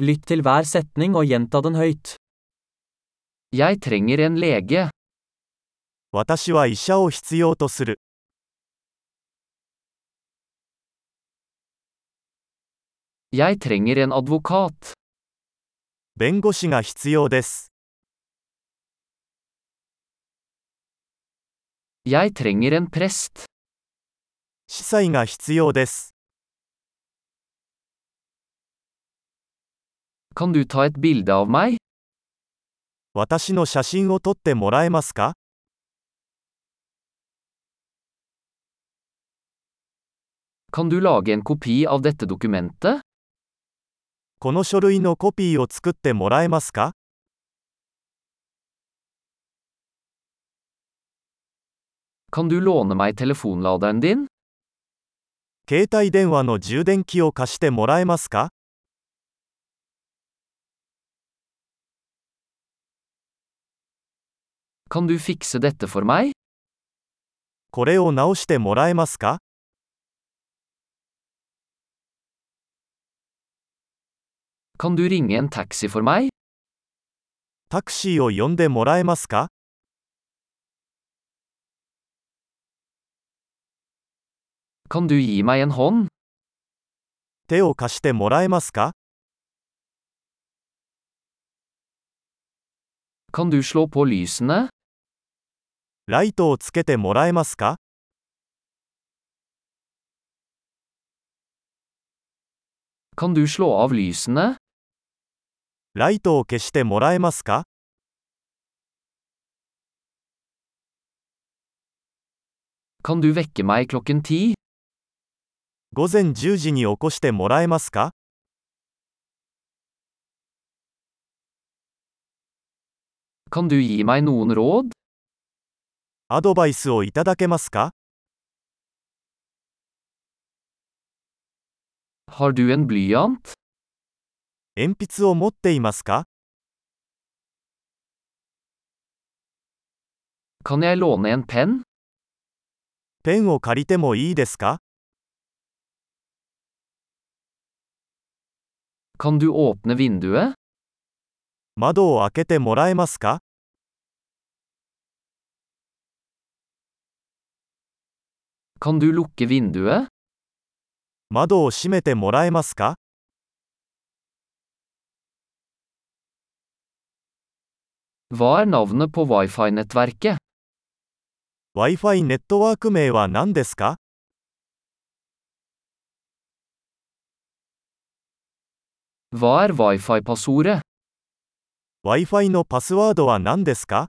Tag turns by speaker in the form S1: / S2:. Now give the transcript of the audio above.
S1: Lytt til hver setning og gjenta den høyt. Jeg trenger en lege.
S2: 私は医者を必要とする。
S1: Jeg trenger en advokat.
S2: 弁護士が必要です。
S1: Jeg trenger en prest.
S2: 司祭が必要です。
S1: Kan du ta et bilde av meg?
S2: 私の写真を撮ってもらえますか
S1: Kan du lage en kopi av dette dokumentet?
S2: この書類のコピーを作ってもらえますか
S1: Kan du låne meg telefonladeren din?
S2: 携帯電話の充電器を貸してもらえますか
S1: Kan du fikse dette for meg?
S2: これを直してもらえますか
S1: Kan du ringe en taxi for meg?
S2: タクシーを呼んでもらえますか
S1: Kan du gi meg en hånd?
S2: 手を貸してもらえますか
S1: Kan du slå på lysene?
S2: ライトをつけてもらえますか
S1: Kan du slå av lysene?
S2: ライトを消してもらえますか
S1: Kan du vekke meg klokken ti?
S2: 午前10時に起こしてもらえますか
S1: Kan du gi meg noen råd?
S2: アドバイスをいただけますか
S1: Har du en blyant?
S2: 鉛筆を持っていますか
S1: Kan jeg låne en penn?
S2: ペンを借りてもいいですか
S1: Kan du åpne vinduet?
S2: 窓を開けてもらえますか
S1: Kan du lukke vinduet?
S2: 窓を閉めてもらえますか
S1: Hva er navnet på wifi-nettverket?
S2: Wi-Fi ネットワーク名は何ですか
S1: Hva er wifi-passordet?
S2: Wi-Fi のパスワードは何ですか